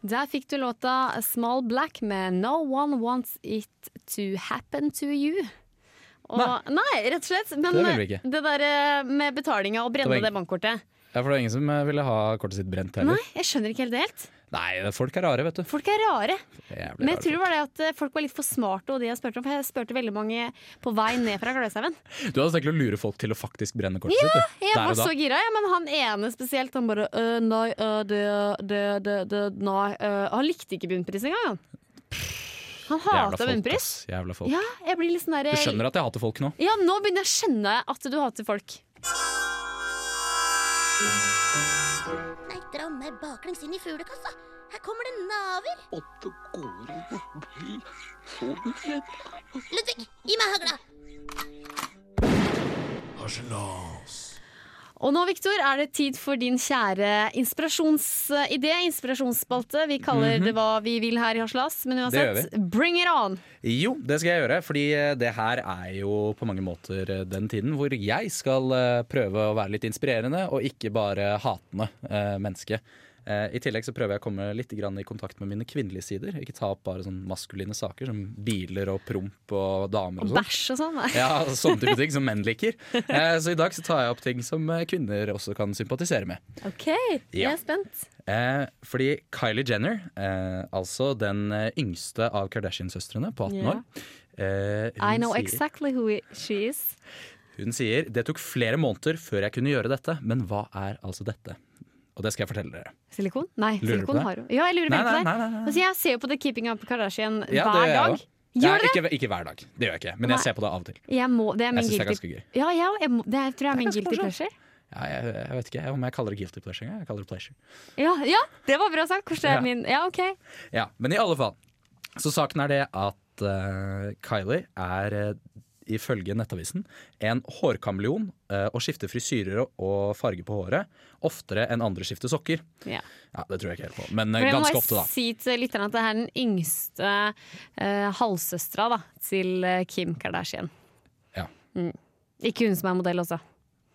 [SPEAKER 2] Der fikk du låta 'Small Black' med 'No One Wants It To Happen To You'. Og, nei. rett og slett. Men
[SPEAKER 5] Det vil vi ikke.
[SPEAKER 2] det der eh, med betalinga og brenne
[SPEAKER 5] Det var
[SPEAKER 2] det bankkortet
[SPEAKER 5] Ja, for det var ingen som eh, ville ha kortet sitt brent heller.
[SPEAKER 2] Nei, jeg skjønner ikke helt det helt.
[SPEAKER 5] Nei, folk er rare, vet du.
[SPEAKER 2] Folk er rare.
[SPEAKER 5] Jævlig
[SPEAKER 2] Men jeg
[SPEAKER 5] rare.
[SPEAKER 2] tror det var det at eh, folk var litt for smarte, og de jeg spurte om. For jeg spurte veldig mange på vei ned fra Gløshaugen.
[SPEAKER 5] Du hadde tenkt å lure folk til å faktisk brenne kortet
[SPEAKER 2] Ja,
[SPEAKER 5] sitt? du.
[SPEAKER 2] jeg
[SPEAKER 5] Der og
[SPEAKER 2] var
[SPEAKER 5] da.
[SPEAKER 2] så gira, ja, men han ene spesielt, han bare «Øh, Nei, øh, det, det, det, det Nei. øh». han likte ikke bunnpris engang, han. Han
[SPEAKER 5] Jævla
[SPEAKER 2] hata
[SPEAKER 5] folk,
[SPEAKER 2] bunnpris.
[SPEAKER 5] ass. Jævla folk.
[SPEAKER 2] Ja, jeg blir litt sånn der
[SPEAKER 5] Du skjønner at jeg hater folk nå?
[SPEAKER 2] Ja, nå begynner jeg å skjønne at du hater folk.
[SPEAKER 3] Nei, dra meg baklengs inn i fuglekassa. Her kommer det naver. Åtte gode bli Ludvig, gi meg hagla.
[SPEAKER 9] Harselas.
[SPEAKER 2] Og nå, Victor, er det tid for din kjære inspirasjonsidé, inspirasjonsspalte. Vi kaller det hva vi vil her i Haslas, men
[SPEAKER 5] Mhm. Det gjør
[SPEAKER 2] uansett, bring it on!
[SPEAKER 5] Jo, det skal jeg gjøre. Fordi eh, det her er jo på mange måter eh, den tiden hvor jeg skal eh, prøve å være litt inspirerende og ikke bare hatende eh, menneske. Eh, I tillegg så prøver jeg å komme litt grann i kontakt med mine kvinnelige sider. Ikke ta opp bare sånn maskuline saker som biler og promp og damer
[SPEAKER 2] Og
[SPEAKER 5] og sånn.
[SPEAKER 2] bæsj og sånn. nei.
[SPEAKER 5] Ja, sånne type ting som menn liker. Eh, Så i dag så tar jeg opp ting som eh, kvinner også kan sympatisere med.
[SPEAKER 2] OK, jeg
[SPEAKER 5] Ja.
[SPEAKER 2] er spent.
[SPEAKER 5] Eh, fordi Kylie Jenner, eh, altså den eh, yngste av Kardashian-søstrene på 18
[SPEAKER 2] Ja.
[SPEAKER 5] år eh,
[SPEAKER 2] I know
[SPEAKER 5] sier,
[SPEAKER 2] exactly who i- she is.
[SPEAKER 5] hun sier det tok flere måneder før jeg kunne gjøre dette, men hva er altså dette? Og det skal jeg fortelle dere.
[SPEAKER 2] Silikon? Nei,
[SPEAKER 5] Lurer du på
[SPEAKER 2] silikon
[SPEAKER 5] det?
[SPEAKER 2] har hun. Ja, jeg lurer
[SPEAKER 5] Nei,
[SPEAKER 2] veldig på
[SPEAKER 5] nei,
[SPEAKER 2] det.
[SPEAKER 5] nei, nei, nei.
[SPEAKER 2] Altså, jeg ser jo på The Keeping Up Kardashian
[SPEAKER 5] Ja, det
[SPEAKER 2] hver
[SPEAKER 5] gjør jeg
[SPEAKER 2] dag. Gjør
[SPEAKER 5] også. Nei,
[SPEAKER 2] du det?
[SPEAKER 5] Ikke, ikke hver dag, det gjør jeg ikke. Men
[SPEAKER 2] Nei.
[SPEAKER 5] jeg ser på det av og til.
[SPEAKER 2] Jeg må, det er min
[SPEAKER 5] Jeg synes det er
[SPEAKER 2] guilty
[SPEAKER 5] ganske gøy.
[SPEAKER 2] Ja, jeg, jeg, må, det er, tror jeg er min
[SPEAKER 5] ganske
[SPEAKER 2] guilty
[SPEAKER 5] morsomt.
[SPEAKER 2] pleasure.
[SPEAKER 5] Ja, jeg, jeg vet ikke om jeg kaller det guilty pleasure engang. Jeg kaller det pleasure.
[SPEAKER 2] Ja, ja, det var bra sagt. Kanskje det
[SPEAKER 5] Ja.
[SPEAKER 2] er min Ja, OK.
[SPEAKER 5] Ja, men i alle fall. Så saken er det at eh, Kylie er eh, ifølge Nettavisen en hårkameleon eh, og skifter frisyrer og- og farge på håret oftere enn andre skifter sokker.
[SPEAKER 2] Ja.
[SPEAKER 5] Ja, Det tror jeg ikke helt på, men eh,
[SPEAKER 2] For jeg må
[SPEAKER 5] ganske
[SPEAKER 2] bare
[SPEAKER 5] ofte, da.
[SPEAKER 2] si til lytterne at det er den yngste uh, halvsøstera da, til eh, Kim Kardashian.
[SPEAKER 5] Ja.
[SPEAKER 2] Mm. Ikke hun som er modell også.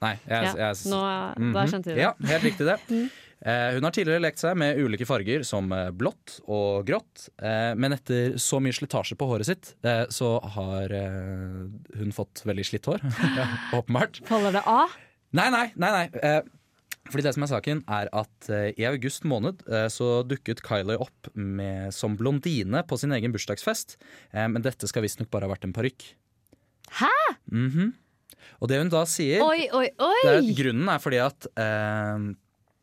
[SPEAKER 5] Nei, jeg,
[SPEAKER 2] Ja,
[SPEAKER 5] jeg, Mhm.
[SPEAKER 2] nå- da skjønte du det. Mm.
[SPEAKER 5] Ja, helt riktig det. Eh, hun har tidligere lekt seg med ulike farger som eh, blått og grått, eh, men etter så mye slitasje på håret sitt, eh, så har eh, hun fått veldig slitt hår. Åpenbart.
[SPEAKER 2] Faller det av?
[SPEAKER 5] Nei, nei, nei, nei. Eh, fordi det som er saken er at eh, I august måned eh, så dukket Kylie opp med, som blondine på sin egen bursdagsfest. Eh, men dette skal visstnok bare ha vært en parykk.
[SPEAKER 2] Hæ?
[SPEAKER 5] Mhm. Og det hun da sier
[SPEAKER 2] Oi, oi,
[SPEAKER 5] det er,
[SPEAKER 2] oi!
[SPEAKER 5] Grunnen er fordi at eh,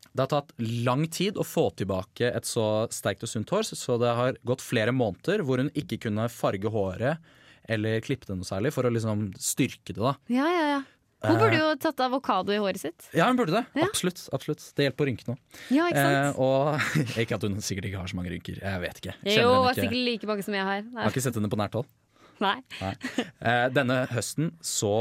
[SPEAKER 5] det har tatt lang tid å få tilbake et så sterkt og sunt hår, så- så det har gått flere måneder hvor hun ikke kunne farge håret eller klippe det noe særlig for å liksom styrke det. da.
[SPEAKER 2] Ja, ja, ja. Hun
[SPEAKER 5] Eh.
[SPEAKER 2] burde jo tatt avokado i håret sitt.
[SPEAKER 5] Ja, hun burde det. Absolutt. absolutt. Det hjelper på rynkene òg.
[SPEAKER 2] Ja, ikke sant?
[SPEAKER 5] Eh, og ikke at hun sikkert ikke har så mange rynker. Jeg vet ikke. Jeg
[SPEAKER 2] jo,
[SPEAKER 5] kjenner
[SPEAKER 2] er
[SPEAKER 5] henne ikke.
[SPEAKER 2] sikkert like mange som jeg har.
[SPEAKER 5] Jeg har ikke sett henne på nært hold.
[SPEAKER 2] Nei.
[SPEAKER 5] Nei. Eh, denne høsten så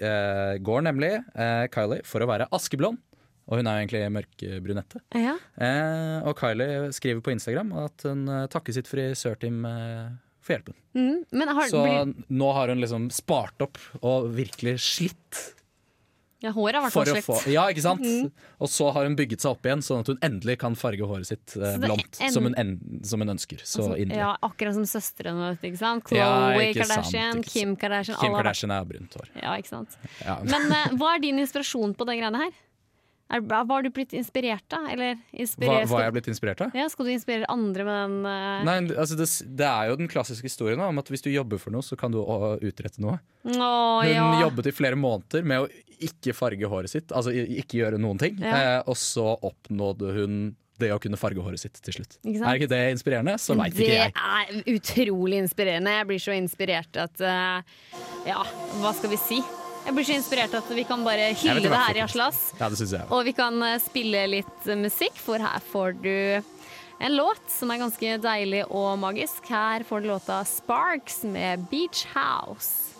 [SPEAKER 5] eh, går nemlig eh, Kylie for å være askeblond. Og hun er jo egentlig mørkebrunette.
[SPEAKER 2] Ja.
[SPEAKER 5] Eh, og Kylie skriver på Instagram at hun eh, takker sitt frisørteam eh, for hjelpen.
[SPEAKER 2] Mm. Men har,
[SPEAKER 5] Så
[SPEAKER 2] blir,
[SPEAKER 5] nå har hun liksom spart opp og virkelig slitt.
[SPEAKER 2] ja, håret har vært
[SPEAKER 5] For å
[SPEAKER 2] hårslekt.
[SPEAKER 5] få, ja, ikke sant?
[SPEAKER 2] Mm.
[SPEAKER 5] Og så har hun bygget seg opp igjen, sånn at hun endelig kan farge håret sitt eh,
[SPEAKER 2] Så det
[SPEAKER 5] blondt.
[SPEAKER 2] en-
[SPEAKER 5] Som, hun en, som hun ønsker. Så
[SPEAKER 2] Altså,
[SPEAKER 5] inderlig.
[SPEAKER 2] ja, akkurat som søstrene. vet du, Ikke sant? Khloe
[SPEAKER 5] Ja, ikke sant,
[SPEAKER 2] Kardashian,
[SPEAKER 5] ikke sant.
[SPEAKER 2] Kim Kardashian. alle
[SPEAKER 5] Kim
[SPEAKER 2] har vært-
[SPEAKER 5] Kardashian har brunt hår.
[SPEAKER 2] Ja, ikke sant?
[SPEAKER 5] Ja.
[SPEAKER 2] Men eh, hva er din inspirasjon på den greiene her? Er, var du blitt inspirert av? Eller
[SPEAKER 5] hva,
[SPEAKER 2] inspirert,
[SPEAKER 5] hva er jeg blitt inspirert av?
[SPEAKER 2] ja, skal du inspirere andre med den eh,
[SPEAKER 5] Nei, altså det, s- det er jo den klassiske historien da, om at hvis du jobber for noe, så kan du å, utrette noe.
[SPEAKER 2] Å,
[SPEAKER 5] Hun
[SPEAKER 2] ja.
[SPEAKER 5] jobbet i flere måneder med å ikke farge håret sitt, altså i- ikke gjøre noen ting.
[SPEAKER 2] Ja.
[SPEAKER 5] Eh, og så oppnådde hun det å kunne farge håret sitt til slutt.
[SPEAKER 2] Ikke sant?
[SPEAKER 5] er ikke det inspirerende? Så veit
[SPEAKER 2] Det
[SPEAKER 5] ikke jeg.
[SPEAKER 2] er utrolig inspirerende. Jeg blir så inspirert at eh, Ja, hva skal vi si? Jeg blir så inspirert at vi kan bare
[SPEAKER 5] Jeg vet
[SPEAKER 2] hylle
[SPEAKER 5] i
[SPEAKER 2] det
[SPEAKER 5] hvert
[SPEAKER 2] her i
[SPEAKER 5] fall ikke.
[SPEAKER 2] Aslas.
[SPEAKER 5] Ja, det synes jeg.
[SPEAKER 2] Og vi kan eh, spille litt eh, musikk, for her får du en låt som er ganske deilig og magisk. Her får du låta 'Sparks' med 'Beach House'.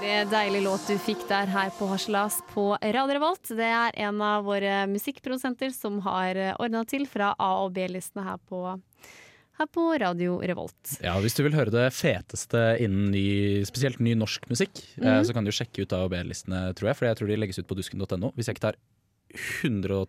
[SPEAKER 2] Det er en deilig låt du fikk der her på Harselas på Radio Revolt. Det er en av våre musikkprodusenter som har ordna til fra A- og B-listene her på, her på Radio Revolt.
[SPEAKER 5] Ja, Hvis du vil høre det feteste innen ny, spesielt ny norsk musikk, eh,
[SPEAKER 2] Mhm.
[SPEAKER 5] så kan du sjekke ut A- og B-listene, tror jeg. For jeg tror de legges ut på dusken.no, hvis jeg ikke tar 100 000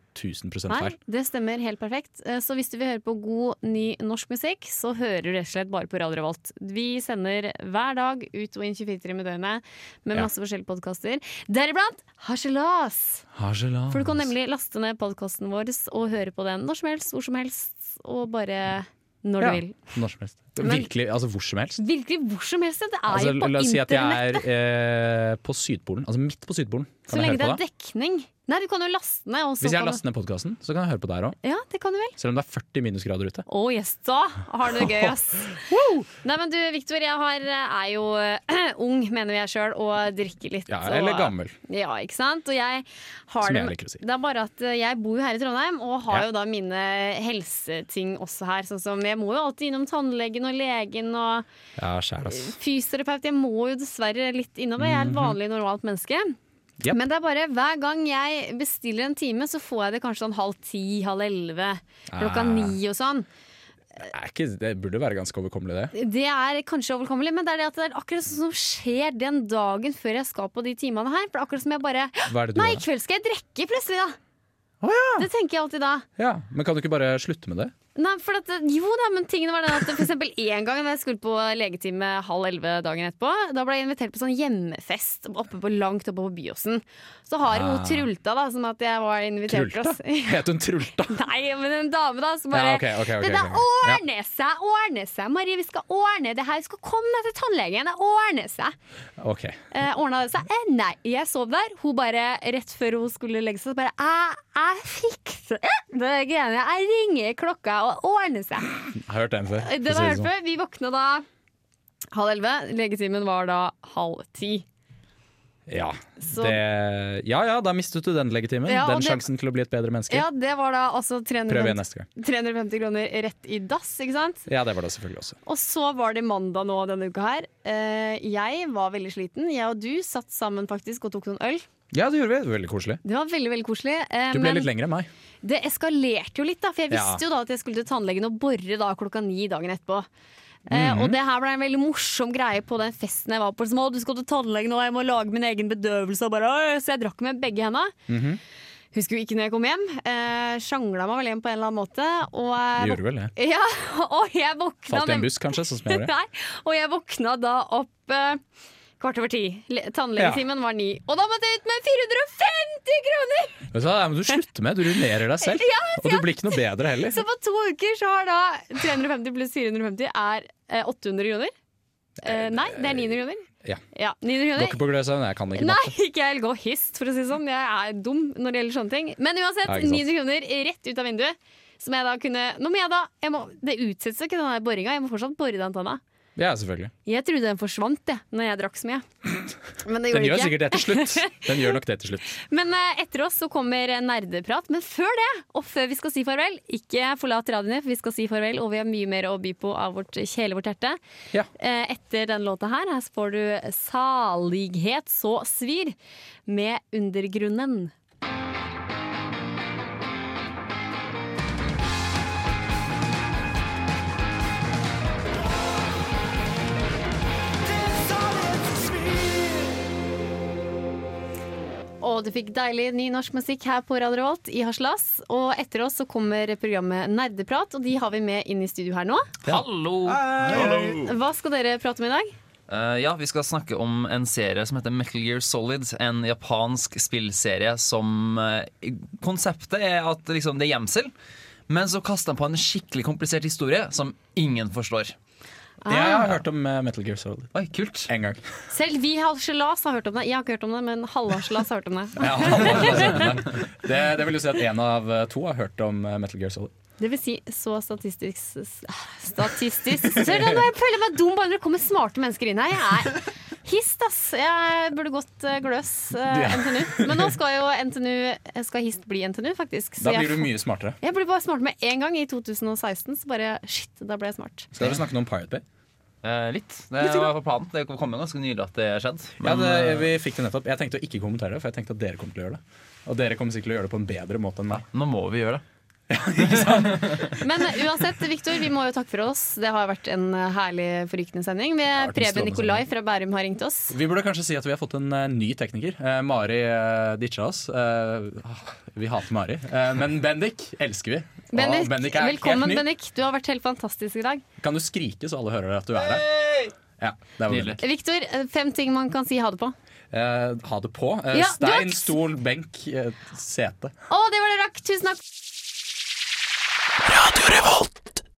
[SPEAKER 5] feil.
[SPEAKER 2] Nei, det stemmer helt perfekt. Eh, Så hvis du vil høre på god, ny norsk musikk, så hører du rett og slett bare på Radio Revolt. Vi sender hver dag ut og inn 24 timer i døgnet med
[SPEAKER 5] Ja.
[SPEAKER 2] masse forskjellige podkaster. Deriblant Harselas!
[SPEAKER 5] Harselas.
[SPEAKER 2] For du kan nemlig laste ned podkasten vår og høre på den når som helst, hvor som helst, og bare når
[SPEAKER 5] Ja,
[SPEAKER 2] du vil.
[SPEAKER 5] Når som helst.
[SPEAKER 2] Men-
[SPEAKER 5] Virkelig, altså hvor som helst.
[SPEAKER 2] Virkelig hvor som helst! Det er
[SPEAKER 5] Altså,
[SPEAKER 2] jo på
[SPEAKER 5] la oss si at jeg
[SPEAKER 2] internett!
[SPEAKER 5] er eh, på Sydpolen, altså midt på Sydpolen.
[SPEAKER 2] Så
[SPEAKER 5] Kan jeg
[SPEAKER 2] lenge det
[SPEAKER 5] høre
[SPEAKER 2] er
[SPEAKER 5] på det?
[SPEAKER 2] dekning. Nei, du kan jo laste ned. Og så
[SPEAKER 5] Hvis jeg
[SPEAKER 2] kan du-
[SPEAKER 5] laster ned podkasten, så kan jeg høre på der òg.
[SPEAKER 2] Ja, det kan du vel.
[SPEAKER 5] Selv om det er 40 minusgrader ute.
[SPEAKER 2] Å yes, da har du det gøy, ass. Nei, men du, Victor, jeg har, eh, er jo eh, ung, mener jeg sjøl, og drikker litt.
[SPEAKER 5] Ja, eller
[SPEAKER 2] og-
[SPEAKER 5] gammel.
[SPEAKER 2] Ja, ikke sant. Og jeg har
[SPEAKER 5] Som
[SPEAKER 2] det-
[SPEAKER 5] jeg liker å si.
[SPEAKER 2] Det er bare at eh, jeg bor jo her i Trondheim, og har
[SPEAKER 5] Ja.
[SPEAKER 2] jo da mine helseting også her. Sånn som jeg må jo alltid innom tannlegen og legen og
[SPEAKER 5] Ja, skjær, ass.
[SPEAKER 2] fysioterapeut. Jeg må jo dessverre litt innom det. Jeg er et vanlig, normalt menneske.
[SPEAKER 5] Mhm. Yep.
[SPEAKER 2] Men det er bare hver gang jeg bestiller en time, så får jeg det kanskje sånn halv ti, halv elleve, klokka
[SPEAKER 5] Ah.
[SPEAKER 2] ni og sånn.
[SPEAKER 5] Det, er ikke, det burde være ganske overkommelig, det.
[SPEAKER 2] Det er kanskje overkommelig, men det er, det at det er akkurat sånn som skjer den dagen før jeg skal på de timene her. For det er akkurat som jeg bare
[SPEAKER 5] Hva er det du
[SPEAKER 2] Nei, i
[SPEAKER 5] gjør?
[SPEAKER 2] kveld skal jeg drikke, plutselig, da! Det tenker jeg alltid da.
[SPEAKER 5] Ja, Men kan du ikke bare slutte med det?
[SPEAKER 2] Nei, for at, jo da, men tingene var den at for eksempel en gang da jeg skulle på legetime halv elleve dagen etterpå, da ble jeg invitert på sånn hjemmefest oppe på langt oppe på Byåsen. Så har hun
[SPEAKER 5] Ah.
[SPEAKER 2] Trulta, da, som at jeg var invitert til
[SPEAKER 5] Trulta?
[SPEAKER 2] oss.
[SPEAKER 5] Het hun Trulta?
[SPEAKER 2] Nei, men en dame da som bare
[SPEAKER 5] Ja, ok, ok, ok,
[SPEAKER 2] Det der
[SPEAKER 5] ok, ok. Ja.
[SPEAKER 2] ordner seg, ordner seg, Marie, vi skal ordne det her. Vi skal komme deg til tannlegen, det ordner seg.
[SPEAKER 5] Ok.
[SPEAKER 2] Eh, ordna det seg? Eh, nei, jeg sov der. Hun bare, rett før hun skulle legge seg, så bare Jeg, jeg fikser eh, det greiene. Jeg ringer klokka og ordner seg.
[SPEAKER 5] Jeg har hørt den før.
[SPEAKER 2] Eh,
[SPEAKER 5] for å
[SPEAKER 2] Den
[SPEAKER 5] si
[SPEAKER 2] har
[SPEAKER 5] det
[SPEAKER 2] jeg hørt
[SPEAKER 5] sånn.
[SPEAKER 2] før. Vi våkna da halv elleve. Legetimen var da halv ti.
[SPEAKER 5] Ja.
[SPEAKER 2] Så-
[SPEAKER 5] Det, ja ja, da mistet du den legitimen.
[SPEAKER 2] Ja, og
[SPEAKER 5] den
[SPEAKER 2] det-
[SPEAKER 5] sjansen til å bli et bedre menneske.
[SPEAKER 2] Ja, det var da altså
[SPEAKER 5] Prøv igjen
[SPEAKER 2] 350,
[SPEAKER 5] neste gang.
[SPEAKER 2] 350 kroner rett i dass, ikke sant?
[SPEAKER 5] Ja, det var det selvfølgelig også.
[SPEAKER 2] Og så var det mandag nå denne uka her. Eh, jeg var veldig sliten. Jeg og du satt sammen faktisk og tok noen øl.
[SPEAKER 5] Ja, det gjorde vi. Det var Veldig koselig.
[SPEAKER 2] Det var veldig veldig koselig. eh,
[SPEAKER 5] Du ble
[SPEAKER 2] men
[SPEAKER 5] litt lengre enn meg.
[SPEAKER 2] det eskalerte jo litt, da, for jeg
[SPEAKER 5] Ja.
[SPEAKER 2] visste jo da at jeg skulle til tannlegen og bore da klokka ni dagen etterpå. Eh,
[SPEAKER 5] Mhm.
[SPEAKER 2] Og det her ble en veldig morsom greie på den festen jeg var på. Som, å, du skal til tannlegen, og jeg må lage min egen bedøvelse. Og bare, «Åh», så jeg drakk med begge hendene.
[SPEAKER 5] Mhm.
[SPEAKER 2] Husker jo ikke når jeg kom hjem. Eh, Sjangla meg vel hjem på en eller annen måte. Og, eh,
[SPEAKER 5] Gjorde vel det.
[SPEAKER 2] Ja, og jeg våkna
[SPEAKER 5] Falt i en
[SPEAKER 2] nem-
[SPEAKER 5] buss, kanskje, sånn som jeg gjorde.
[SPEAKER 2] Nei, og jeg våkna da opp eh, kvart over ti. Le- Tannlegetimen var ni. Og da måtte jeg ut med 450 kroner!
[SPEAKER 5] Vet du hva, det må du slutte med. Du ruinerer deg selv.
[SPEAKER 2] Ja,
[SPEAKER 5] Og du blir ikke noe bedre heller.
[SPEAKER 2] Så på to uker så har da 350 pluss 450 er eh, 800 kroner. Eh, nei, det er 900 kroner.
[SPEAKER 5] Ja.
[SPEAKER 2] Ja, 900
[SPEAKER 5] Går
[SPEAKER 2] kroner.
[SPEAKER 5] ikke på gløshaugen, jeg kan ikke
[SPEAKER 2] Nei,
[SPEAKER 5] matte.
[SPEAKER 2] ikke jeg går hist, for å si det sånn. Jeg er dum når det gjelder sånne ting. Men uansett,
[SPEAKER 5] Ja, ikke sant.
[SPEAKER 2] 900 kroner rett ut av vinduet. Som jeg da kunne Nå må jeg da jeg må, Det utsettes jo ikke den der boringa. Jeg må fortsatt bore den tanna.
[SPEAKER 5] Ja, selvfølgelig.
[SPEAKER 2] Jeg trodde den forsvant, jeg, når jeg drakk så mye. Men det
[SPEAKER 5] Den
[SPEAKER 2] gjorde
[SPEAKER 5] gjør
[SPEAKER 2] ikke.
[SPEAKER 5] sikkert det til slutt. Den gjør nok det til slutt.
[SPEAKER 2] Men eh, etter oss så kommer eh, nerdeprat. Men før det, og før vi skal si farvel, ikke forlat radioene, for vi skal si farvel, og vi har mye mer å by på av vårt kjele, vårt hjerte. Eh, Etter denne låta her, her får du 'Salighet så svir' med Undergrunnen. Og du fikk deilig ny norsk musikk her på Radio Revolt i Haslas. Og etter oss så kommer programmet Nerdeprat, og de har vi med inn i studio her nå.
[SPEAKER 10] Hallo!
[SPEAKER 2] Hva skal dere prate om i dag?
[SPEAKER 10] Eh, ja, vi skal snakke om en serie som heter Metal Gear Solid. En japansk spillserie som eh, Konseptet er at liksom, det er gjemsel, men så kaster de på en skikkelig komplisert historie som ingen forstår.
[SPEAKER 2] Ah. Jeg har
[SPEAKER 10] hørt
[SPEAKER 5] om eh, Metal Gear Solid.
[SPEAKER 10] Oi, kult.
[SPEAKER 5] En gang.
[SPEAKER 2] Selv vi i Haslas har hørt om det. Jeg har ikke hørt om det, men Halvhaslas har hørt om det.
[SPEAKER 5] Det, det vil jo si at én av to har hørt om eh, Metal Gear Solid.
[SPEAKER 2] Det vil si så statistisk s- Statistisk Ser du, nå jeg føler jeg meg dum bare når det kommer smarte mennesker inn her. Jeg er hist, ass. Jeg burde gått eh, gløs eh,
[SPEAKER 5] Ja.
[SPEAKER 2] NTNU. Men nå skal jo NTNU jeg Skal hist bli NTNU, faktisk.
[SPEAKER 5] Da
[SPEAKER 2] jeg
[SPEAKER 5] blir du
[SPEAKER 2] får-
[SPEAKER 5] mye smartere.
[SPEAKER 2] Jeg ble bare smart med en gang i 2016, så bare shit, da ble jeg smart.
[SPEAKER 5] Skal dere snakke noe om Pirate Bay?
[SPEAKER 10] Eh, litt. Det
[SPEAKER 5] Litt, ja.
[SPEAKER 10] var på planen. Det kom jo ganske nylig at det skjedde.
[SPEAKER 5] Ja,
[SPEAKER 10] men,
[SPEAKER 5] det,
[SPEAKER 10] eh,
[SPEAKER 5] vi fikk det nettopp. Jeg tenkte å ikke kommentere det, for jeg tenkte at dere kom til å gjøre det. Og dere kommer sikkert til å gjøre det på en bedre måte enn meg.
[SPEAKER 10] Nå må vi gjøre det.
[SPEAKER 2] Men eh, uansett, Victor, vi må jo takke for oss. Det har vært en eh, herlig, forrykende sending. Vi
[SPEAKER 5] vært en
[SPEAKER 2] Preben
[SPEAKER 5] strålende
[SPEAKER 2] Nikolai fra Bærum har ringt oss.
[SPEAKER 5] Vi burde kanskje si at vi har fått en eh, ny tekniker. Eh, Mari uh, ditcha oss. Eh, ah, vi hater Mari. Eh, men Bendik elsker vi. Og
[SPEAKER 2] Bendik,
[SPEAKER 5] Bendik er helt
[SPEAKER 2] velkommen,
[SPEAKER 5] ny.
[SPEAKER 2] Bendik. Du har vært helt fantastisk i dag.
[SPEAKER 5] Kan du skrike så alle hører at du er der? Ja, det var Bendik.
[SPEAKER 2] Victor, eh, fem ting man kan si ha det på.
[SPEAKER 5] Eh, ha det på. Eh,
[SPEAKER 2] Ja, du har
[SPEAKER 5] Stein, stol, benk, eh, sete.
[SPEAKER 2] Å, det var det rakk! Tusen takk.
[SPEAKER 5] Radio Revolt.